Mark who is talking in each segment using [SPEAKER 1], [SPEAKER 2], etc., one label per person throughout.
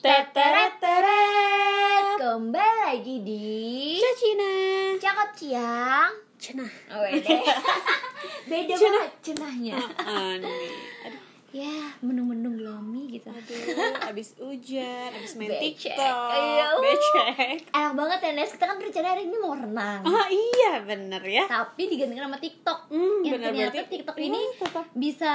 [SPEAKER 1] Teteret teret.
[SPEAKER 2] Kembali lagi di
[SPEAKER 1] Cina.
[SPEAKER 2] Cakap Ciang
[SPEAKER 1] Cina.
[SPEAKER 2] Wede. Beda banget cenahnya
[SPEAKER 1] Oh.
[SPEAKER 2] Ya, mendung-mendung lomi gitu
[SPEAKER 1] Aduh, abis hujan, abis main
[SPEAKER 2] Becek.
[SPEAKER 1] TikTok,
[SPEAKER 2] Iya, uh.
[SPEAKER 1] becek.
[SPEAKER 2] Enak banget ya Nes, kita kan berencana hari ini mau renang
[SPEAKER 1] Oh iya bener ya.
[SPEAKER 2] Tapi digantikan sama TikTok
[SPEAKER 1] Hmm,
[SPEAKER 2] Yang
[SPEAKER 1] bener
[SPEAKER 2] ternyata
[SPEAKER 1] berarti.
[SPEAKER 2] TikTok
[SPEAKER 1] Iya,
[SPEAKER 2] ini
[SPEAKER 1] tetap.
[SPEAKER 2] bisa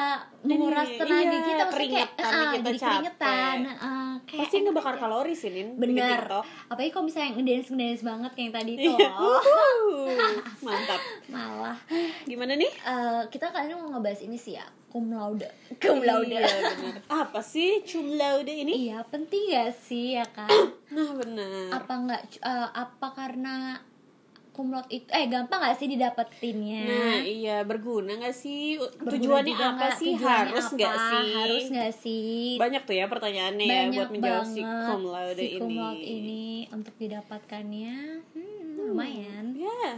[SPEAKER 2] menguras
[SPEAKER 1] Iya, iya,
[SPEAKER 2] tenaga kita Maksudnya kayak,
[SPEAKER 1] keringetan,
[SPEAKER 2] ah,
[SPEAKER 1] kita
[SPEAKER 2] jadi keringetan
[SPEAKER 1] capek.
[SPEAKER 2] ah, kayak
[SPEAKER 1] Pasti
[SPEAKER 2] enak
[SPEAKER 1] ngebakar
[SPEAKER 2] aja.
[SPEAKER 1] kalori sih, Nin. bikin
[SPEAKER 2] Bener
[SPEAKER 1] TikTok.
[SPEAKER 2] Apalagi kalau misalnya ngedance ngedance banget kayak yang tadi itu
[SPEAKER 1] Iya.
[SPEAKER 2] loh.
[SPEAKER 1] Wuhu. Mantap.
[SPEAKER 2] Malah
[SPEAKER 1] Gimana nih?
[SPEAKER 2] Eh, kita kali ini mau ngebahas ini sih ya cum laude cum laude
[SPEAKER 1] Iya, bener. Apa sih cum laude ini?
[SPEAKER 2] iya penting gak sih ya kan
[SPEAKER 1] Nah bener.
[SPEAKER 2] apa nggak eh, apa karena cum laude itu eh gampang gak sih didapetinnya
[SPEAKER 1] Nah iya berguna nggak sih
[SPEAKER 2] Berguna
[SPEAKER 1] tujuannya
[SPEAKER 2] juga
[SPEAKER 1] apa
[SPEAKER 2] nggak?
[SPEAKER 1] sih
[SPEAKER 2] Tujuannya
[SPEAKER 1] harus
[SPEAKER 2] apa?
[SPEAKER 1] nggak sih
[SPEAKER 2] harus nggak sih
[SPEAKER 1] banyak tuh ya pertanyaannya ya buat menjawab si cum laude
[SPEAKER 2] si cum
[SPEAKER 1] ini.
[SPEAKER 2] laude ini untuk didapatkannya hmm, lumayan
[SPEAKER 1] Ya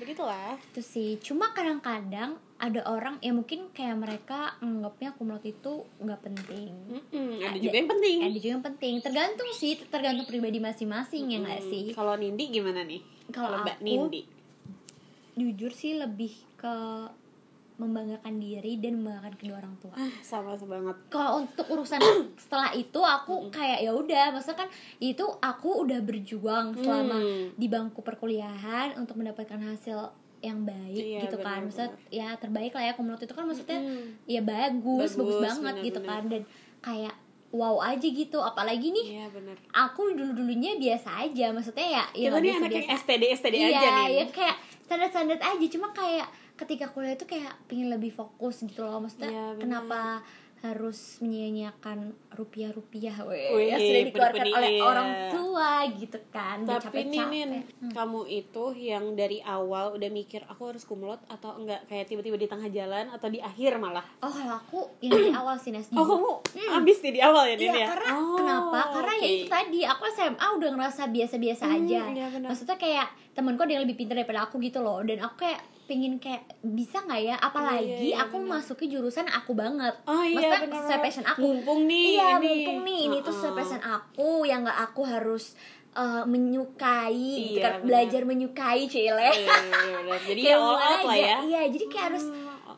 [SPEAKER 1] begitulah.
[SPEAKER 2] itu sih cuma kadang-kadang ada orang ya mungkin kayak mereka anggapnya cum laude itu nggak penting
[SPEAKER 1] Mm-mm, ada
[SPEAKER 2] Ada-
[SPEAKER 1] juga yang penting.
[SPEAKER 2] ya, ada juga yang penting tergantung sih tergantung pribadi masing-masing ya nggak
[SPEAKER 1] Hmm,
[SPEAKER 2] sih
[SPEAKER 1] Kalau Nindi gimana nih?
[SPEAKER 2] Kalau
[SPEAKER 1] Mbak
[SPEAKER 2] aku-
[SPEAKER 1] Nindi.
[SPEAKER 2] jujur sih lebih ke membanggakan diri dan membanggakan kedua orang tua
[SPEAKER 1] Ah, sama banget.
[SPEAKER 2] kalau untuk urusan setelah itu aku kayak ya udah maksudnya kan itu aku udah berjuang selama
[SPEAKER 1] Hmm.
[SPEAKER 2] di bangku perkuliahan untuk mendapatkan hasil yang baik
[SPEAKER 1] Iya,
[SPEAKER 2] gitu kan maksudnya
[SPEAKER 1] benar-benar.
[SPEAKER 2] ya terbaik lah ya kumulot itu kan maksudnya
[SPEAKER 1] Mm-mm.
[SPEAKER 2] ya bagus bagus,
[SPEAKER 1] Bagus,
[SPEAKER 2] banget gitu
[SPEAKER 1] benar-benar.
[SPEAKER 2] kan dan kayak wow aja gitu apalagi nih
[SPEAKER 1] Iya benar.
[SPEAKER 2] aku dulu dulunya biasa aja maksudnya ya ya
[SPEAKER 1] Kita nih anak
[SPEAKER 2] biasa-biasa
[SPEAKER 1] yang STD STD
[SPEAKER 2] iya,
[SPEAKER 1] aja nih.
[SPEAKER 2] ya kayak standar-standar aja cuma kayak ketika kuliah itu kayak pingin lebih fokus gitu loh maksudnya
[SPEAKER 1] Iya, benar.
[SPEAKER 2] kenapa harus menyia-nyiakan rupiah-rupiah weh,
[SPEAKER 1] Wih,
[SPEAKER 2] yang sudah dikeluarkan
[SPEAKER 1] bener-bener
[SPEAKER 2] oleh
[SPEAKER 1] iya.
[SPEAKER 2] orang tua gitu kan dan
[SPEAKER 1] Tapi nih
[SPEAKER 2] capek-capek.
[SPEAKER 1] Nin, kamu itu yang dari awal udah mikir aku harus kumlot atau enggak kayak tiba-tiba di tengah jalan atau di akhir malah.
[SPEAKER 2] oh kalau aku yang dari awal sih Nes
[SPEAKER 1] Oh
[SPEAKER 2] jujur.
[SPEAKER 1] kamu abis nih di awal ya Nin
[SPEAKER 2] Hmm. Iya,
[SPEAKER 1] ya?
[SPEAKER 2] karena
[SPEAKER 1] Oh,
[SPEAKER 2] kenapa? Karena ya
[SPEAKER 1] oke.
[SPEAKER 2] itu tadi aku SMA udah ngerasa biasa-biasa
[SPEAKER 1] Hmm,
[SPEAKER 2] aja.
[SPEAKER 1] iya benar.
[SPEAKER 2] Maksudnya kayak temanku ada yang lebih pintar daripada aku gitu loh. Dan aku kayak pengen kayak bisa nggak ya? Apalagi
[SPEAKER 1] Iya, iya,
[SPEAKER 2] aku
[SPEAKER 1] benar.
[SPEAKER 2] masuki jurusan aku banget.
[SPEAKER 1] Oh iya
[SPEAKER 2] Maksudnya
[SPEAKER 1] benar.
[SPEAKER 2] sesuai passion aku.
[SPEAKER 1] Mumpung nih
[SPEAKER 2] iya,
[SPEAKER 1] ini.
[SPEAKER 2] mumpung nih ini tuh sesuai
[SPEAKER 1] Heeh.
[SPEAKER 2] passion aku yang nggak aku harus eh, menyukai gitu
[SPEAKER 1] Iya,
[SPEAKER 2] kan.
[SPEAKER 1] benar.
[SPEAKER 2] Belajar menyukai cile.
[SPEAKER 1] Iya, iya, benar. Jadi ya
[SPEAKER 2] Kayak
[SPEAKER 1] all
[SPEAKER 2] hubungan
[SPEAKER 1] out lah
[SPEAKER 2] aja.
[SPEAKER 1] ya.
[SPEAKER 2] Iya, jadi kayak harus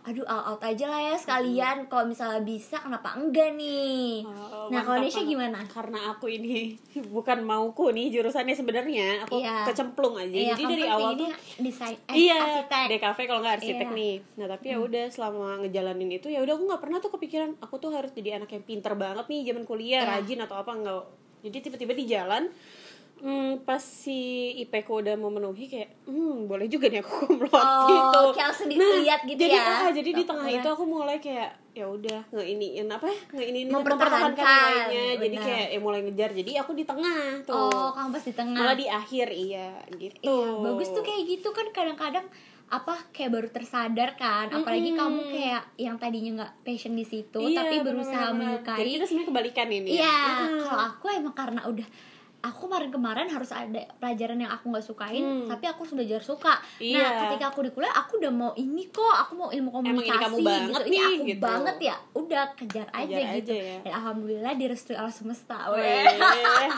[SPEAKER 2] aduh all out aja lah
[SPEAKER 1] Hmm.
[SPEAKER 2] ya sekalian kalau misalnya bisa kenapa enggak nih
[SPEAKER 1] Oh,
[SPEAKER 2] nah kalau
[SPEAKER 1] mantap,
[SPEAKER 2] Nesya
[SPEAKER 1] mantap.
[SPEAKER 2] gimana
[SPEAKER 1] Karena aku ini bukan mauku nih jurusannya sebenarnya aku
[SPEAKER 2] Iya.
[SPEAKER 1] kecemplung aja.
[SPEAKER 2] Iya,
[SPEAKER 1] Jadi
[SPEAKER 2] kamu
[SPEAKER 1] dari
[SPEAKER 2] kan
[SPEAKER 1] awal tuh
[SPEAKER 2] pinginnya desain eh,
[SPEAKER 1] Iya,
[SPEAKER 2] arsitek.
[SPEAKER 1] DKV kalau nggak arsitek
[SPEAKER 2] Iya.
[SPEAKER 1] nih. Nah tapi ya udah selama ngejalanin itu ya udah aku nggak pernah tuh kepikiran aku tuh harus jadi anak yang pinter banget nih zaman kuliah
[SPEAKER 2] Iya.
[SPEAKER 1] rajin atau apa nggak. Jadi tiba-tiba di jalan, hmm, pas si IPK udah memenuhi kayak, hmm boleh juga nih aku kumlot
[SPEAKER 2] Oh,
[SPEAKER 1] gitu.
[SPEAKER 2] kayak langsung dilihat gitu
[SPEAKER 1] jadi,
[SPEAKER 2] ya.
[SPEAKER 1] ah, jadi di
[SPEAKER 2] Langsung
[SPEAKER 1] tengah
[SPEAKER 2] dilihat.
[SPEAKER 1] itu aku mulai kayak ya udah ngeiniin apa ya ngeiniin
[SPEAKER 2] Mempertahankan,
[SPEAKER 1] nilainya. Jadi
[SPEAKER 2] benar.
[SPEAKER 1] kayak ya mulai ngejar. Jadi aku di tengah tuh.
[SPEAKER 2] oh kamu pas di tengah
[SPEAKER 1] Malah di akhir iya gitu.
[SPEAKER 2] Iya, bagus tuh kayak gitu kan kadang-kadang apa kayak baru tersadar kan apalagi
[SPEAKER 1] Mm-mm.
[SPEAKER 2] kamu kayak yang tadinya nggak passion di situ
[SPEAKER 1] Iya,
[SPEAKER 2] gitu, tapi berusaha
[SPEAKER 1] benar-benar.
[SPEAKER 2] menyukai
[SPEAKER 1] Jadi kita sebenarnya kebalikan ini.
[SPEAKER 2] Iya,
[SPEAKER 1] Mm-mm.
[SPEAKER 2] kalau aku emang karena udah aku kemarin-kemarin harus ada pelajaran yang aku nggak sukain,
[SPEAKER 1] Hmm.
[SPEAKER 2] tapi aku harus belajar suka.
[SPEAKER 1] Iya.
[SPEAKER 2] Nah, ketika aku di kuliah, aku udah mau ini kok, aku mau ilmu
[SPEAKER 1] Emang ini
[SPEAKER 2] komunikasi
[SPEAKER 1] kamu banget
[SPEAKER 2] gitu. Ini
[SPEAKER 1] nih,
[SPEAKER 2] aku
[SPEAKER 1] gitu.
[SPEAKER 2] banget ya, udah kejar aja
[SPEAKER 1] Kejar aja
[SPEAKER 2] gitu.
[SPEAKER 1] ya.
[SPEAKER 2] Dan alhamdulillah direstui Allah semesta.
[SPEAKER 1] Weh. gitu.
[SPEAKER 2] Weh.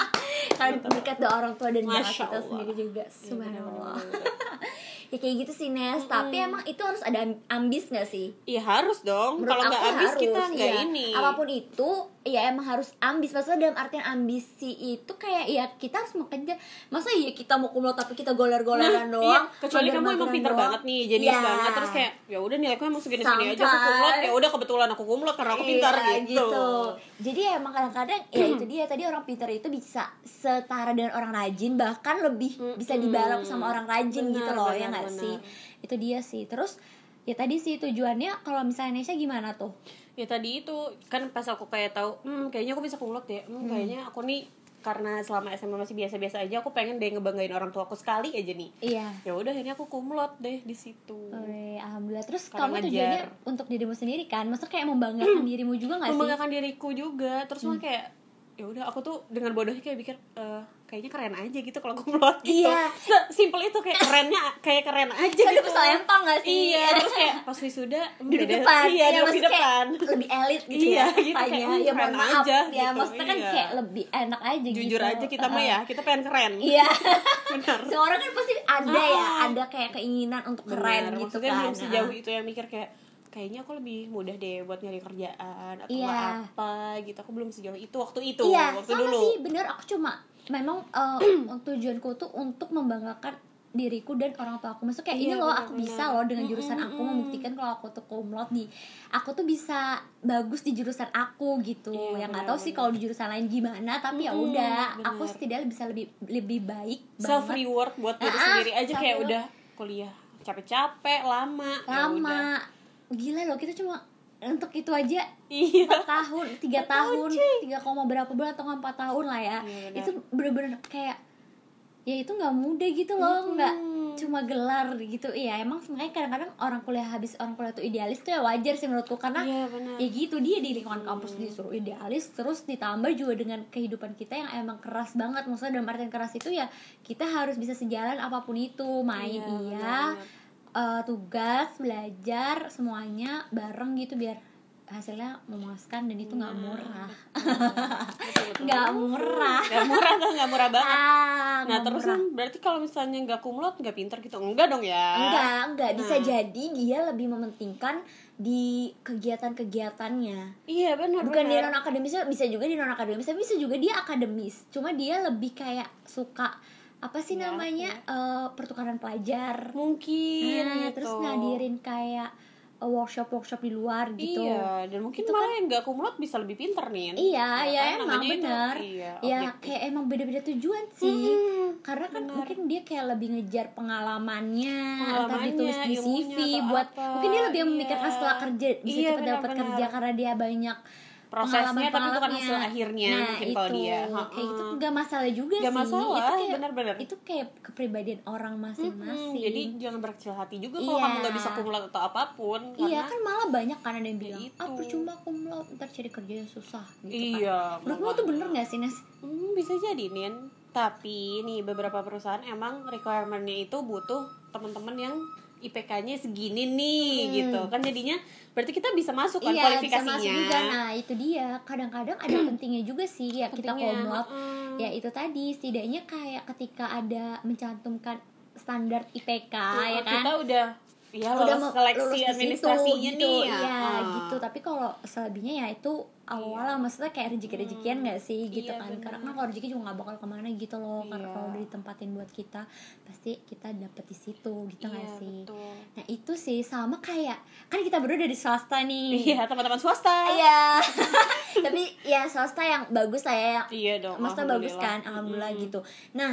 [SPEAKER 2] Kan berkat doa orang tua dan doa
[SPEAKER 1] Masya Allah.
[SPEAKER 2] kita sendiri juga.
[SPEAKER 1] Iya,
[SPEAKER 2] Subhanallah.
[SPEAKER 1] benar-benar.
[SPEAKER 2] ya kayak gitu sih Nes, tapi
[SPEAKER 1] Hmm.
[SPEAKER 2] emang itu harus ada ambis nggak sih?
[SPEAKER 1] Iya harus dong.
[SPEAKER 2] Menurut
[SPEAKER 1] Kalau nggak
[SPEAKER 2] aku ya
[SPEAKER 1] habis
[SPEAKER 2] harus,
[SPEAKER 1] kita nggak
[SPEAKER 2] iya.
[SPEAKER 1] ini.
[SPEAKER 2] apapun itu ya emang harus ambis maksudnya dalam artian ambisi itu kayak ya kita harus mengejar masa ya kita mau kumlot tapi kita goler-goleran doang
[SPEAKER 1] iya, kecuali kamu
[SPEAKER 2] mager-mageran
[SPEAKER 1] emang pintar
[SPEAKER 2] doang.
[SPEAKER 1] banget nih, jadi
[SPEAKER 2] Iya.
[SPEAKER 1] banget terus kayak ya udah nilaiku emang segini-segini aja aku
[SPEAKER 2] Sampai.
[SPEAKER 1] kumlot ya udah kebetulan aku kumlot karena aku
[SPEAKER 2] Iya,
[SPEAKER 1] pintar gitu.
[SPEAKER 2] Jadi ya emang kadang-kadang ya itu dia tadi orang pintar itu bisa setara dengan orang rajin bahkan lebih bisa dibalap sama orang rajin
[SPEAKER 1] Benar,
[SPEAKER 2] gitu loh
[SPEAKER 1] benar,
[SPEAKER 2] ya nggak
[SPEAKER 1] benar.
[SPEAKER 2] sih? Itu dia sih. Terus ya tadi sih tujuannya kalau misalnya Nesya gimana tuh?
[SPEAKER 1] Ya tadi itu kan pas aku kayak tahu, hmm kayaknya aku bisa kumlot deh. Hmm, kayaknya aku nih karena selama SMA masih biasa-biasa aja aku pengen deh ngebanggain orang tua aku sekali aja nih.
[SPEAKER 2] Iya.
[SPEAKER 1] Ya udah akhirnya aku kumlot deh di situ.
[SPEAKER 2] Weh, alhamdulillah. Terus
[SPEAKER 1] Karena
[SPEAKER 2] kamu
[SPEAKER 1] ngajar.
[SPEAKER 2] tujuannya untuk dirimu sendiri kan? Maksudnya kayak membanggakan dirimu juga gak sih? Hmm.
[SPEAKER 1] membanggakan diriku juga terus mah kayak ya udah aku tuh dengan bodohnya kayak pikir eh, kayaknya keren aja gitu kalau kumlot gitu
[SPEAKER 2] Iya.
[SPEAKER 1] simple itu kayak kerennya kayak keren aja
[SPEAKER 2] Kan
[SPEAKER 1] gitu
[SPEAKER 2] itu selempang gak sih?
[SPEAKER 1] iya terus kayak pas wisuda
[SPEAKER 2] duduk
[SPEAKER 1] beda-
[SPEAKER 2] depan
[SPEAKER 1] iya duduk di
[SPEAKER 2] maksudnya
[SPEAKER 1] depan
[SPEAKER 2] kayak lebih elit gitu
[SPEAKER 1] Iya,
[SPEAKER 2] ya
[SPEAKER 1] gitu,
[SPEAKER 2] rasanya.
[SPEAKER 1] kayak,
[SPEAKER 2] ya mohon
[SPEAKER 1] keren
[SPEAKER 2] maaf
[SPEAKER 1] aja
[SPEAKER 2] ya
[SPEAKER 1] gitu,
[SPEAKER 2] maksudnya kan
[SPEAKER 1] iya.
[SPEAKER 2] kayak lebih enak aja gitu
[SPEAKER 1] jujur aja kita mah
[SPEAKER 2] Heeh.
[SPEAKER 1] ya kita pengen keren
[SPEAKER 2] iya
[SPEAKER 1] benar
[SPEAKER 2] semua orang kan pasti ada ya ada kayak keinginan untuk keren
[SPEAKER 1] Benar,
[SPEAKER 2] gitu
[SPEAKER 1] maksudnya
[SPEAKER 2] kan
[SPEAKER 1] belum sejauh itu yang mikir kayak kayaknya aku lebih mudah deh buat nyari kerjaan atau
[SPEAKER 2] Iya.
[SPEAKER 1] nggak apa gitu aku belum sejauh itu waktu itu
[SPEAKER 2] iya
[SPEAKER 1] gitu waktu
[SPEAKER 2] sama
[SPEAKER 1] dulu
[SPEAKER 2] sih bener aku cuma memang eh, tujuanku tuh untuk membanggakan diriku dan orang tua aku maksudnya kayak
[SPEAKER 1] Iya,
[SPEAKER 2] ini loh aku
[SPEAKER 1] benar-benar.
[SPEAKER 2] bisa loh dengan jurusan aku membuktikan kalau aku tuh kumlot di aku tuh bisa bagus di jurusan aku gitu
[SPEAKER 1] Iya,
[SPEAKER 2] yang nggak tahu sih
[SPEAKER 1] benar-benar.
[SPEAKER 2] kalau di jurusan lain gimana tapi ya
[SPEAKER 1] Mm-mm,
[SPEAKER 2] udah aku
[SPEAKER 1] benar.
[SPEAKER 2] setidaknya bisa lebih lebih baik
[SPEAKER 1] self
[SPEAKER 2] banget
[SPEAKER 1] reward buat diri
[SPEAKER 2] Ah,
[SPEAKER 1] sendiri aja kayak
[SPEAKER 2] self-reward.
[SPEAKER 1] udah kuliah capek-capek lama ya udah.
[SPEAKER 2] lama gila loh kita cuma untuk itu aja
[SPEAKER 1] iya
[SPEAKER 2] empat tahun tiga tahun tiga koma berapa bulan atau empat tahun lah ya
[SPEAKER 1] Iya, benar.
[SPEAKER 2] itu bener-bener kayak ya itu nggak mudah gitu loh nggak
[SPEAKER 1] Mm-mm.
[SPEAKER 2] cuma gelar gitu iya emang sebenarnya kadang-kadang orang kuliah habis orang kuliah tuh idealis tuh ya wajar sih menurutku karena
[SPEAKER 1] iya benar
[SPEAKER 2] ya gitu dia di lingkungan kampus disuruh idealis terus ditambah juga dengan kehidupan kita yang emang keras banget maksudnya dalam artian keras itu ya kita harus bisa sejalan apapun itu main
[SPEAKER 1] Iya,
[SPEAKER 2] iya eh, tugas belajar semuanya bareng gitu biar hasilnya memuaskan dan itu
[SPEAKER 1] Iya.
[SPEAKER 2] nggak murah nggak murah
[SPEAKER 1] nggak murah tuh nggak murah banget
[SPEAKER 2] ah
[SPEAKER 1] nah
[SPEAKER 2] nggak
[SPEAKER 1] terus
[SPEAKER 2] murah.
[SPEAKER 1] kan berarti kalau misalnya nggak kumlot nggak pinter gitu enggak dong ya
[SPEAKER 2] enggak enggak bisa
[SPEAKER 1] Nah.
[SPEAKER 2] jadi dia lebih mementingkan di kegiatan-kegiatannya
[SPEAKER 1] iya benar
[SPEAKER 2] bukan di
[SPEAKER 1] benar.
[SPEAKER 2] non akademisnya bisa juga di non akademis tapi bisa juga dia akademis cuma dia lebih kayak suka apa sih
[SPEAKER 1] Iya,
[SPEAKER 2] namanya eh, pertukaran pelajar
[SPEAKER 1] mungkin
[SPEAKER 2] Nah,
[SPEAKER 1] gitu.
[SPEAKER 2] terus ngadirin kayak workshop workshop di luar gitu
[SPEAKER 1] Iya, dan mungkin
[SPEAKER 2] Itu kan
[SPEAKER 1] malah yang gak kumlot bisa lebih pinter nih.
[SPEAKER 2] Iya,
[SPEAKER 1] Nah,
[SPEAKER 2] ya
[SPEAKER 1] kan
[SPEAKER 2] emang
[SPEAKER 1] namanya itu,
[SPEAKER 2] benar.
[SPEAKER 1] Iya,
[SPEAKER 2] ya
[SPEAKER 1] objektif.
[SPEAKER 2] kayak emang beda-beda tujuan sih
[SPEAKER 1] Mm-mm.
[SPEAKER 2] karena kan
[SPEAKER 1] benar.
[SPEAKER 2] mungkin dia kayak lebih ngejar pengalamannya, atau
[SPEAKER 1] Pengalamannya,
[SPEAKER 2] ditulis di CV
[SPEAKER 1] ilmunya, atau
[SPEAKER 2] buat
[SPEAKER 1] apa.
[SPEAKER 2] mungkin dia lebih
[SPEAKER 1] Iya.
[SPEAKER 2] memikirkan setelah kerja bisa
[SPEAKER 1] Iya,
[SPEAKER 2] cepat dapat
[SPEAKER 1] benar-benar.
[SPEAKER 2] kerja karena dia banyak
[SPEAKER 1] prosesnya tapi bukan
[SPEAKER 2] pengalaman-pengalamannya.
[SPEAKER 1] hasil akhirnya
[SPEAKER 2] nah,
[SPEAKER 1] mungkin
[SPEAKER 2] itu
[SPEAKER 1] kalau dia.
[SPEAKER 2] kayak gitu
[SPEAKER 1] Ha-ha.
[SPEAKER 2] nggak masalah juga
[SPEAKER 1] Nggak
[SPEAKER 2] sih
[SPEAKER 1] masalah,
[SPEAKER 2] itu kayak
[SPEAKER 1] benar-benar.
[SPEAKER 2] itu kayak kepribadian orang masing-masing
[SPEAKER 1] Mm-mm, Hmm, jadi jangan berkecil hati juga kalau
[SPEAKER 2] Iya.
[SPEAKER 1] kamu gak bisa kumlot atau apapun.
[SPEAKER 2] iya
[SPEAKER 1] karena-
[SPEAKER 2] kan malah banyak kan ada yang bilang
[SPEAKER 1] itu.
[SPEAKER 2] ah percuma kumlot ntar cari kerja susah gitu
[SPEAKER 1] Iya.
[SPEAKER 2] kan menurut lo tuh bener nggak sih Nes?
[SPEAKER 1] Hmm, bisa jadi Nin. Tapi nih beberapa perusahaan emang requirement-nya itu butuh teman-teman yang IPK-nya segini nih
[SPEAKER 2] Hmm.
[SPEAKER 1] gitu. Kan jadinya berarti kita bisa masuk kan
[SPEAKER 2] iya bisa
[SPEAKER 1] kualifikasinya.
[SPEAKER 2] masuk juga nah itu dia kadang-kadang ada pentingnya juga sih ya kita
[SPEAKER 1] Pentingnya,
[SPEAKER 2] kumlot
[SPEAKER 1] mm.
[SPEAKER 2] ya itu tadi setidaknya kayak ketika ada mencantumkan standar IPK
[SPEAKER 1] Kalau
[SPEAKER 2] ya kan
[SPEAKER 1] Iya, kita udah ya
[SPEAKER 2] udah
[SPEAKER 1] lolos
[SPEAKER 2] mau
[SPEAKER 1] seleksi
[SPEAKER 2] lulus di situ,
[SPEAKER 1] administrasinya
[SPEAKER 2] gitu.
[SPEAKER 1] nih ya.
[SPEAKER 2] Iya,
[SPEAKER 1] Ah.
[SPEAKER 2] gitu. Tapi kalau selebihnya ya itu awal lah maksudnya kayak rezeki-rezekian nggak sih gitu
[SPEAKER 1] Iya,
[SPEAKER 2] kan.
[SPEAKER 1] bener.
[SPEAKER 2] Karena kan kalau rezeki juga nggak bakal kemana gitu loh. Karena
[SPEAKER 1] Iya.
[SPEAKER 2] kalau udah ditempatin buat kita pasti kita dapet di situ gitu nggak
[SPEAKER 1] Iya,
[SPEAKER 2] sih.
[SPEAKER 1] betul.
[SPEAKER 2] Nah, itu sih sama kayak kan kita berdua dari swasta nih.
[SPEAKER 1] Iya, teman-teman swasta.
[SPEAKER 2] Iya. Tapi ya swasta yang bagus lah ya yang
[SPEAKER 1] Iya dong.
[SPEAKER 2] Maksudnya bagus
[SPEAKER 1] alhamdulillah. Hmm.
[SPEAKER 2] kan, alhamdulillah gitu. Nah,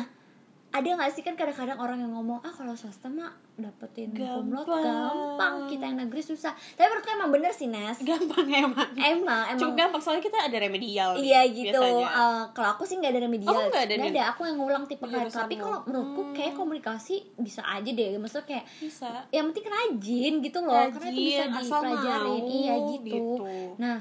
[SPEAKER 2] ada nggak sih kan kadang-kadang orang yang ngomong ah kalau swasta mah dapetin kumlot
[SPEAKER 1] Gampang.
[SPEAKER 2] gampang kita yang negeri susah. Tapi menurutku emang bener sih Nes.
[SPEAKER 1] Gampang emang.
[SPEAKER 2] Emang emang
[SPEAKER 1] Cukup gampang soalnya kita ada remedial. nih,
[SPEAKER 2] iya gitu.
[SPEAKER 1] biasanya.
[SPEAKER 2] Eh, kalau aku sih nggak ada remedial.
[SPEAKER 1] Oh, nggak ada, Iya,
[SPEAKER 2] Nggak
[SPEAKER 1] Nin?
[SPEAKER 2] ada. Aku yang ngulang tipe
[SPEAKER 1] Di
[SPEAKER 2] kan.
[SPEAKER 1] jurusan
[SPEAKER 2] Tapi
[SPEAKER 1] lo.
[SPEAKER 2] kalau
[SPEAKER 1] Hmm.
[SPEAKER 2] menurutku kayak komunikasi bisa aja deh. Maksudnya kayak
[SPEAKER 1] Bisa.
[SPEAKER 2] yang penting rajin gitu loh karena itu bisa
[SPEAKER 1] Rajin, asal
[SPEAKER 2] dipelajarin
[SPEAKER 1] mau,
[SPEAKER 2] iya gitu.
[SPEAKER 1] gitu.
[SPEAKER 2] nah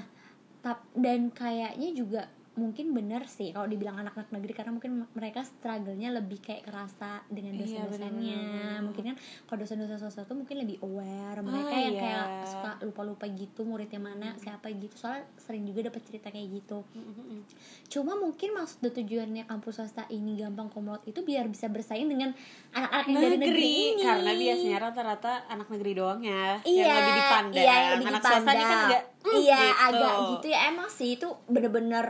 [SPEAKER 2] tap dan kayaknya juga mungkin bener sih kalau dibilang anak-anak negeri karena mungkin mereka struggle-nya lebih kayak kerasa dengan
[SPEAKER 1] Iya,
[SPEAKER 2] dosen-dosennya
[SPEAKER 1] bener-bener.
[SPEAKER 2] mungkin kan kalau dosen-dosen sosial tuh mungkin lebih aware mereka
[SPEAKER 1] Ah, iya.
[SPEAKER 2] yang
[SPEAKER 1] Hmm.
[SPEAKER 2] kayak suka lupa-lupa gitu muridnya mana siapa gitu soalnya sering juga dapat cerita kayak gitu
[SPEAKER 1] Mm-mm.
[SPEAKER 2] cuma mungkin maksud dan tujuannya kampus swasta ini gampang komod itu biar bisa bersaing dengan anak-anak yang dari
[SPEAKER 1] Nah, negeri,
[SPEAKER 2] negeri ini
[SPEAKER 1] karena biasanya rata-rata anak negeri doang ya
[SPEAKER 2] Iya,
[SPEAKER 1] yang lebih dipandang
[SPEAKER 2] Iya, yang lebih
[SPEAKER 1] anak
[SPEAKER 2] dipandang.
[SPEAKER 1] swasta ini kan agak mm,
[SPEAKER 2] iya,
[SPEAKER 1] gitu.
[SPEAKER 2] agak gitu ya emang sih itu bener-bener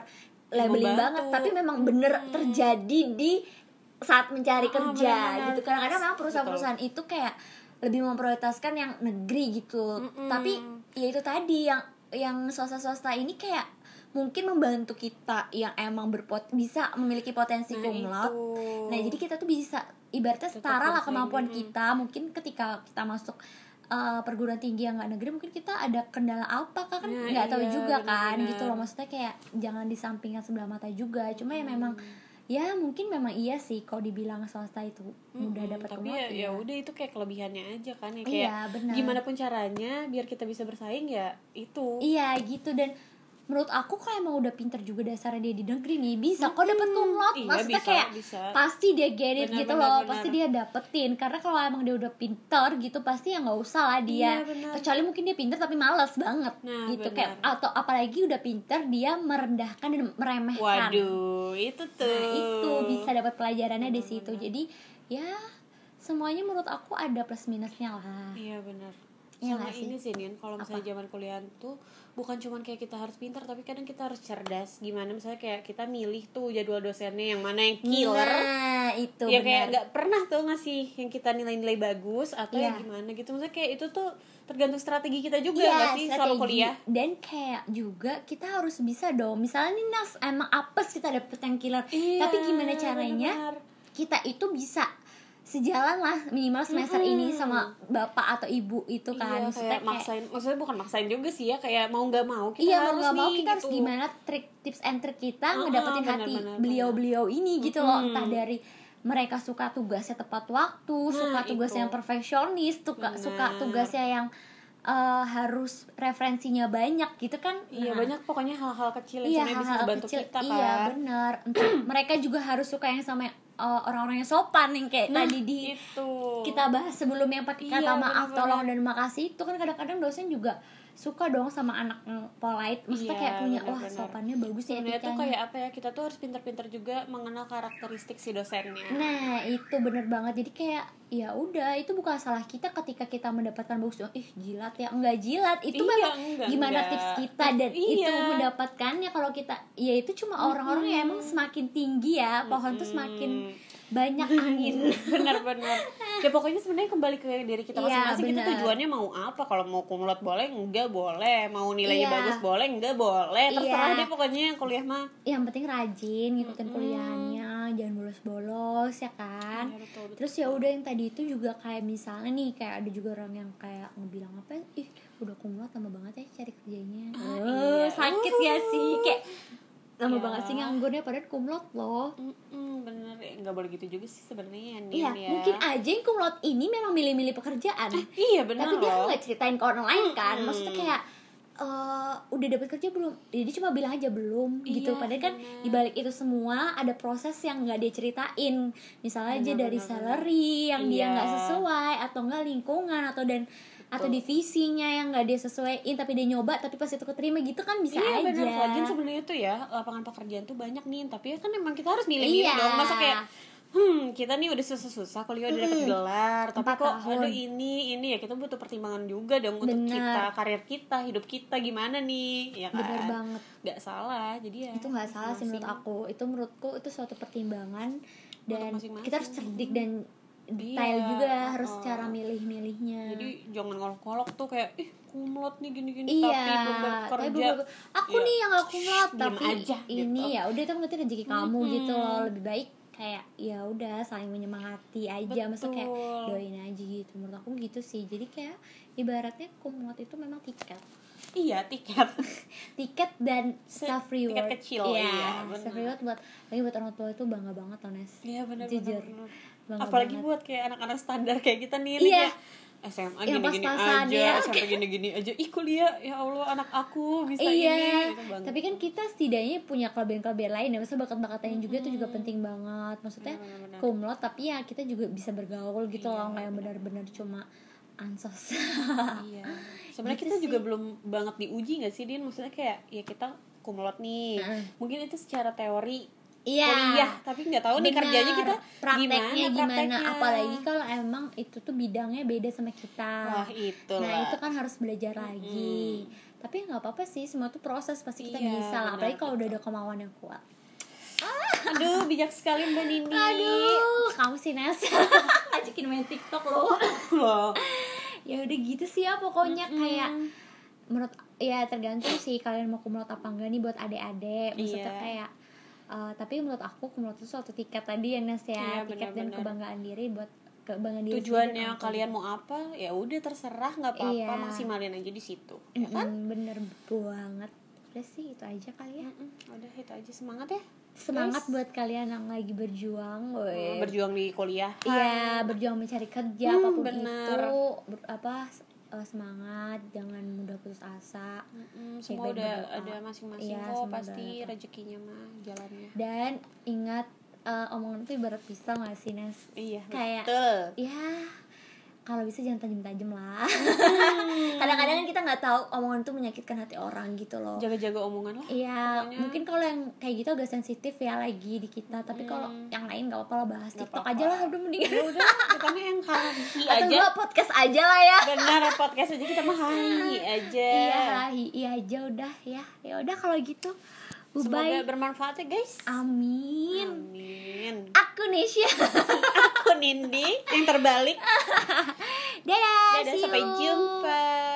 [SPEAKER 2] labeling
[SPEAKER 1] Membantu.
[SPEAKER 2] banget, tapi memang bener terjadi di saat mencari
[SPEAKER 1] Hmm. Ah,
[SPEAKER 2] kerja
[SPEAKER 1] benar-benar.
[SPEAKER 2] gitu. Kadang-kadang memang perusahaan-perusahaan itu kayak lebih memprioritaskan yang negeri gitu.
[SPEAKER 1] Mm-mm.
[SPEAKER 2] Tapi ya itu tadi yang yang swasta-swasta ini kayak mungkin membantu kita yang emang berpot bisa memiliki potensi
[SPEAKER 1] Nah,
[SPEAKER 2] kumlot
[SPEAKER 1] itu.
[SPEAKER 2] Nah, jadi kita tuh bisa ibaratnya
[SPEAKER 1] Tetap
[SPEAKER 2] setara
[SPEAKER 1] bersaing,
[SPEAKER 2] lah kemampuan
[SPEAKER 1] mm.
[SPEAKER 2] kita. Mungkin ketika kita masuk eh, perguruan tinggi yang nggak negeri, mungkin kita ada kendala apa Kak? kan
[SPEAKER 1] Nah,
[SPEAKER 2] nggak tahu
[SPEAKER 1] iya,
[SPEAKER 2] juga kan
[SPEAKER 1] benar-benar.
[SPEAKER 2] gitu loh. Maksudnya kayak jangan disampingkan sebelah mata juga. Cuma ya memang
[SPEAKER 1] Mm.
[SPEAKER 2] ya mungkin memang iya sih kalau dibilang swasta itu mudah
[SPEAKER 1] Mm-mm,
[SPEAKER 2] dapat
[SPEAKER 1] tapi
[SPEAKER 2] kumlot,
[SPEAKER 1] ya, ya
[SPEAKER 2] iya.
[SPEAKER 1] udah itu kayak kelebihannya aja kan ya kayak
[SPEAKER 2] Iya, benar.
[SPEAKER 1] gimana pun caranya biar kita bisa bersaing ya itu
[SPEAKER 2] Iya gitu dan menurut aku kalau emang udah pinter juga dasarnya dia di negeri nih bisa kok dapet tunglot
[SPEAKER 1] Iya,
[SPEAKER 2] maksudnya
[SPEAKER 1] bisa,
[SPEAKER 2] kayak
[SPEAKER 1] bisa.
[SPEAKER 2] pasti dia get it
[SPEAKER 1] Benar,
[SPEAKER 2] gitu
[SPEAKER 1] benar,
[SPEAKER 2] loh
[SPEAKER 1] benar.
[SPEAKER 2] pasti dia dapetin karena kalau emang dia udah pinter gitu pasti ya nggak usah lah dia
[SPEAKER 1] Iya, benar.
[SPEAKER 2] kecuali mungkin dia pinter tapi males banget
[SPEAKER 1] Nah,
[SPEAKER 2] gitu
[SPEAKER 1] benar.
[SPEAKER 2] kayak atau apalagi udah pinter dia merendahkan dan meremehkan
[SPEAKER 1] Waduh, itu tuh.
[SPEAKER 2] kan. Nah, itu bisa dapat pelajarannya di situ. Jadi, ya semuanya menurut aku ada plus minusnya lah.
[SPEAKER 1] Iya benar.
[SPEAKER 2] Iya
[SPEAKER 1] Sama
[SPEAKER 2] nggak sih?
[SPEAKER 1] ini sih Nin, kalau misalnya zaman kuliah tuh bukan cuman kayak kita harus pintar tapi kadang kita harus cerdas. Gimana misalnya kayak kita milih tuh jadwal dosennya yang mana yang killer.
[SPEAKER 2] Nah, itu
[SPEAKER 1] ya kayak
[SPEAKER 2] benar.
[SPEAKER 1] nggak pernah tuh ngasih yang kita nilai-nilai bagus atau
[SPEAKER 2] Iya.
[SPEAKER 1] yang gimana gitu. Maksudnya kayak itu tuh tergantung strategi kita juga
[SPEAKER 2] Iya,
[SPEAKER 1] nggak sih selama
[SPEAKER 2] strategi.
[SPEAKER 1] kuliah.
[SPEAKER 2] Dan kayak juga kita harus bisa dong. Misalnya nih Nas emang apes kita dapet yang killer.
[SPEAKER 1] Iya,
[SPEAKER 2] Tapi gimana caranya
[SPEAKER 1] benar.
[SPEAKER 2] kita itu bisa sejalan lah minimal semester ini sama bapak atau ibu itu
[SPEAKER 1] Iya,
[SPEAKER 2] kan. Maksudnya
[SPEAKER 1] kayak maksain, maksudnya bukan maksain juga sih ya, kayak mau nggak mau kita
[SPEAKER 2] iya mau
[SPEAKER 1] harus
[SPEAKER 2] nggak mau
[SPEAKER 1] nih,
[SPEAKER 2] kita harus
[SPEAKER 1] gitu.
[SPEAKER 2] gimana trik tips and trick kita
[SPEAKER 1] Ah,
[SPEAKER 2] ngedapetin
[SPEAKER 1] benar,
[SPEAKER 2] hati
[SPEAKER 1] benar,
[SPEAKER 2] beliau-beliau ini gitu loh
[SPEAKER 1] Mm-mm.
[SPEAKER 2] entah dari mereka suka tugasnya tepat waktu suka tugasnya
[SPEAKER 1] Nah, itu.
[SPEAKER 2] yang perfeksionis suka suka
[SPEAKER 1] Benar.
[SPEAKER 2] tugasnya yang eh, harus referensinya banyak gitu kan
[SPEAKER 1] Iya
[SPEAKER 2] Nah,
[SPEAKER 1] banyak pokoknya hal-hal kecil yang
[SPEAKER 2] iya
[SPEAKER 1] sebenarnya bisa
[SPEAKER 2] hal-hal
[SPEAKER 1] membantu
[SPEAKER 2] kecil
[SPEAKER 1] kita kan.
[SPEAKER 2] iya benar Entah, mereka juga harus suka yang sama eh, orang-orang yang sopan yang kayak
[SPEAKER 1] Nah,
[SPEAKER 2] tadi di
[SPEAKER 1] itu
[SPEAKER 2] kita bahas sebelum yang pakai kata
[SPEAKER 1] Iya, benar-benar.
[SPEAKER 2] maaf tolong dan makasih itu kan kadang-kadang dosen juga suka dong sama anak yang polite maksudnya
[SPEAKER 1] Iya,
[SPEAKER 2] kayak punya wah
[SPEAKER 1] benar-benar.
[SPEAKER 2] sopannya bagus ya
[SPEAKER 1] sebenarnya tuh
[SPEAKER 2] etikanya
[SPEAKER 1] kayak apa ya kita tuh harus pinter-pinter juga mengenal karakteristik si dosennya
[SPEAKER 2] nah itu bener banget jadi kayak ya udah itu bukan salah kita ketika kita mendapatkan bagus doang ih jilat ya enggak jilat itu
[SPEAKER 1] Iya,
[SPEAKER 2] memang
[SPEAKER 1] enggak,
[SPEAKER 2] gimana
[SPEAKER 1] enggak.
[SPEAKER 2] tips kita dan
[SPEAKER 1] Iya.
[SPEAKER 2] itu mendapatkannya kalau kita ya itu cuma orang-orang yang emang semakin tinggi ya pohon tuh semakin banyak angin
[SPEAKER 1] benar-benar ya pokoknya sebenarnya kembali ke diri kita
[SPEAKER 2] Iya,
[SPEAKER 1] masing-masing kita
[SPEAKER 2] benar.
[SPEAKER 1] tujuannya mau apa kalau mau kumulat boleh enggak boleh mau nilainya
[SPEAKER 2] Iya.
[SPEAKER 1] bagus boleh enggak boleh terserah
[SPEAKER 2] Iya.
[SPEAKER 1] deh pokoknya yang kuliah mah
[SPEAKER 2] yang penting rajin ngikutin kuliahnya jangan bolos-bolos ya kan
[SPEAKER 1] Iya, betul, betul.
[SPEAKER 2] terus ya udah yang tadi itu juga kayak misalnya nih kayak ada juga orang yang kayak ngebilang apa ya, ih udah kumulat lama banget ya cari kerjanya
[SPEAKER 1] iya. Uhuh.
[SPEAKER 2] Eh, sakit ya sih kayak lama
[SPEAKER 1] Iya.
[SPEAKER 2] banget sih nganggurnya padahal kumlot loh
[SPEAKER 1] Mm-mm, bener ya nggak boleh gitu juga sih sebenarnya Nin,
[SPEAKER 2] Iya,
[SPEAKER 1] ya.
[SPEAKER 2] mungkin aja yang kumlot ini memang milih-milih pekerjaan.
[SPEAKER 1] iya, benar
[SPEAKER 2] Tapi dia kan
[SPEAKER 1] loh.
[SPEAKER 2] nggak ceritain ke orang lain kan.
[SPEAKER 1] Mm-mm.
[SPEAKER 2] Maksudnya kayak eh, udah dapat kerja belum? Ya, Dia cuma bilang aja belum gitu.
[SPEAKER 1] Iya,
[SPEAKER 2] Padahal kan
[SPEAKER 1] benar.
[SPEAKER 2] dibalik itu semua ada proses yang nggak dia ceritain. Misalnya aja
[SPEAKER 1] Benar,
[SPEAKER 2] dari
[SPEAKER 1] benar,
[SPEAKER 2] salary yang dia
[SPEAKER 1] Iya.
[SPEAKER 2] nggak sesuai atau nggak lingkungan atau dan atau
[SPEAKER 1] Betul.
[SPEAKER 2] divisinya yang nggak dia sesuaiin tapi dia nyoba tapi pas itu keterima gitu kan bisa
[SPEAKER 1] iya
[SPEAKER 2] aja.
[SPEAKER 1] benar lagian sebenarnya tuh ya lapangan pekerjaan tuh banyak nih tapi ya kan emang kita harus milih-milih
[SPEAKER 2] Iya.
[SPEAKER 1] dong masa kayak hmm kita nih udah susah-susah kuliah udah dapet gelar tapi
[SPEAKER 2] Empat
[SPEAKER 1] kok
[SPEAKER 2] tahun.
[SPEAKER 1] aduh ini ini ya kita butuh pertimbangan juga dong untuk
[SPEAKER 2] Benar.
[SPEAKER 1] kita karir kita hidup kita gimana nih ya kan
[SPEAKER 2] Benar banget.
[SPEAKER 1] nggak salah jadi ya
[SPEAKER 2] itu nggak salah sih menurut aku itu menurutku itu suatu pertimbangan dan
[SPEAKER 1] masing-masing.
[SPEAKER 2] kita harus cerdik dan detail
[SPEAKER 1] Iya,
[SPEAKER 2] juga harus
[SPEAKER 1] uh-uh.
[SPEAKER 2] cara milih-milihnya
[SPEAKER 1] jadi jangan ngolok-ngolok tuh kayak ih kumlot nih gini-gini
[SPEAKER 2] iya
[SPEAKER 1] tapi belum dapat
[SPEAKER 2] tapi
[SPEAKER 1] kerja
[SPEAKER 2] belum- aku
[SPEAKER 1] Iya.
[SPEAKER 2] nih yang gak kumlot
[SPEAKER 1] Shh, diem
[SPEAKER 2] tapi
[SPEAKER 1] aja,
[SPEAKER 2] ini
[SPEAKER 1] gitu.
[SPEAKER 2] ya udah itu ngerti rezeki kamu gitu loh lebih baik kayak ya udah saling menyemangati aja maksudnya kayak
[SPEAKER 1] Betul.
[SPEAKER 2] doain aja gitu menurut aku gitu sih jadi kayak ibaratnya kumlot itu memang tiket
[SPEAKER 1] iya tiket
[SPEAKER 2] tiket dan
[SPEAKER 1] Se-
[SPEAKER 2] self
[SPEAKER 1] tiket
[SPEAKER 2] reward
[SPEAKER 1] kecil, iya,
[SPEAKER 2] iya
[SPEAKER 1] benar.
[SPEAKER 2] self reward buat lagi buat orang tua itu bangga banget loh Nes
[SPEAKER 1] iya benar
[SPEAKER 2] Jujur.
[SPEAKER 1] benar
[SPEAKER 2] Bangga
[SPEAKER 1] apalagi
[SPEAKER 2] banget.
[SPEAKER 1] buat kayak anak-anak standar kayak kita nih
[SPEAKER 2] Iya.
[SPEAKER 1] kayak SMA
[SPEAKER 2] Yang
[SPEAKER 1] gini-gini
[SPEAKER 2] pas-pasan,
[SPEAKER 1] aja,
[SPEAKER 2] ya.
[SPEAKER 1] SMP gini-gini aja. Ih kuliah, ya Allah anak aku bisa
[SPEAKER 2] iya,
[SPEAKER 1] ini. Gitu, bangga.
[SPEAKER 2] tapi kan kita setidaknya punya kelebihan-kelebihan lain ya, maksudnya bakat-bakatnya juga itu juga penting banget. Maksudnya
[SPEAKER 1] Benar-benar.
[SPEAKER 2] kumlot tapi ya kita juga bisa bergaul gitu loh, nggak yang benar-benar cuma ansos.
[SPEAKER 1] iya. Sebenarnya
[SPEAKER 2] Gitu
[SPEAKER 1] kita juga
[SPEAKER 2] sih.
[SPEAKER 1] belum banget diuji nggak sih, Din? Maksudnya kayak ya kita kumlot nih.
[SPEAKER 2] Heeh.
[SPEAKER 1] Mungkin itu secara teori
[SPEAKER 2] Iya.
[SPEAKER 1] kuliah, tapi nggak tahu nih
[SPEAKER 2] Benar.
[SPEAKER 1] kerjanya kita
[SPEAKER 2] prakteknya
[SPEAKER 1] gimana,
[SPEAKER 2] gimana,
[SPEAKER 1] prakteknya.
[SPEAKER 2] apalagi kalau emang itu tuh bidangnya beda sama kita.
[SPEAKER 1] Wah, itu
[SPEAKER 2] nah
[SPEAKER 1] lah.
[SPEAKER 2] itu kan harus belajar lagi. Tapi ya nggak apa-apa sih, semua tuh proses pasti kita
[SPEAKER 1] Iya,
[SPEAKER 2] bisa
[SPEAKER 1] benar,
[SPEAKER 2] lah. Apalagi kalau udah ada kemauan yang kuat.
[SPEAKER 1] Aduh, bijak sekali Mbak Nini.
[SPEAKER 2] Aduh, kamu sih Nes Ajakin main TikTok loh
[SPEAKER 1] Loh. Hmm.
[SPEAKER 2] Ya udah gitu sih ya pokoknya kayak menurut ya tergantung sih kalian mau kumlot apa enggak nih buat adik-adik maksudnya
[SPEAKER 1] Iya.
[SPEAKER 2] kayak eh, tapi menurut aku kumlot itu suatu tiket tadi ya Nes ya
[SPEAKER 1] Iya,
[SPEAKER 2] tiket dan
[SPEAKER 1] benar-benar.
[SPEAKER 2] kebanggaan diri buat kebanggaan diri
[SPEAKER 1] Tujuannya
[SPEAKER 2] sendiri.
[SPEAKER 1] kalian mau apa? Ya udah terserah, nggak apa-apa,
[SPEAKER 2] Iya.
[SPEAKER 1] maksimalin aja di situ. Ya
[SPEAKER 2] Mm-mm,
[SPEAKER 1] kan?
[SPEAKER 2] bener banget udah sih itu aja kali ya
[SPEAKER 1] Mm-mm, Udah itu aja semangat ya.
[SPEAKER 2] semangat buat kalian yang lagi berjuang
[SPEAKER 1] Oh, Eh,
[SPEAKER 2] woi
[SPEAKER 1] berjuang di kuliah
[SPEAKER 2] Iya, berjuang mencari kerja
[SPEAKER 1] Kan. Hmm,
[SPEAKER 2] apapun
[SPEAKER 1] bener.
[SPEAKER 2] itu, ber- apa eh, semangat jangan mudah putus asa
[SPEAKER 1] Mm-mm, Mm, semua
[SPEAKER 2] Baik-baik
[SPEAKER 1] udah
[SPEAKER 2] berdoa.
[SPEAKER 1] ada masing-masing
[SPEAKER 2] Iya,
[SPEAKER 1] kok
[SPEAKER 2] semua
[SPEAKER 1] pasti
[SPEAKER 2] udah-
[SPEAKER 1] rezekinya mah jalannya
[SPEAKER 2] dan ingat eh, omongan itu ibarat pisau nggak sih Nes
[SPEAKER 1] iya
[SPEAKER 2] Kayak-
[SPEAKER 1] betul
[SPEAKER 2] ya kalau bisa jangan tajam-tajam lah
[SPEAKER 1] Hmm.
[SPEAKER 2] kadang-kadang kan kita nggak tahu omongan itu menyakitkan hati orang gitu loh
[SPEAKER 1] jaga-jaga omongan lah
[SPEAKER 2] Iya,
[SPEAKER 1] Pokoknya-
[SPEAKER 2] mungkin kalau yang kayak gitu agak sensitif ya lagi di kita. Tapi kalau
[SPEAKER 1] Hmm.
[SPEAKER 2] yang lain nggak apa-apa lah bahas
[SPEAKER 1] Nggak
[SPEAKER 2] TikTok
[SPEAKER 1] apa-apa.
[SPEAKER 2] aja lah, udah mendingan.
[SPEAKER 1] ya udah kita mah yang hahi
[SPEAKER 2] Atau
[SPEAKER 1] aja
[SPEAKER 2] nggak podcast aja lah ya.
[SPEAKER 1] benar podcast aja kita mah hahi aja
[SPEAKER 2] Iya, hi- iya aja udah ya. Ya udah kalau gitu.
[SPEAKER 1] semoga
[SPEAKER 2] Bye bye.
[SPEAKER 1] bermanfaat ya guys
[SPEAKER 2] Amin.
[SPEAKER 1] amin
[SPEAKER 2] Aku Nesya.
[SPEAKER 1] aku Nindi yang terbalik
[SPEAKER 2] Dadah.
[SPEAKER 1] dadah
[SPEAKER 2] see
[SPEAKER 1] sampai
[SPEAKER 2] you.
[SPEAKER 1] jumpa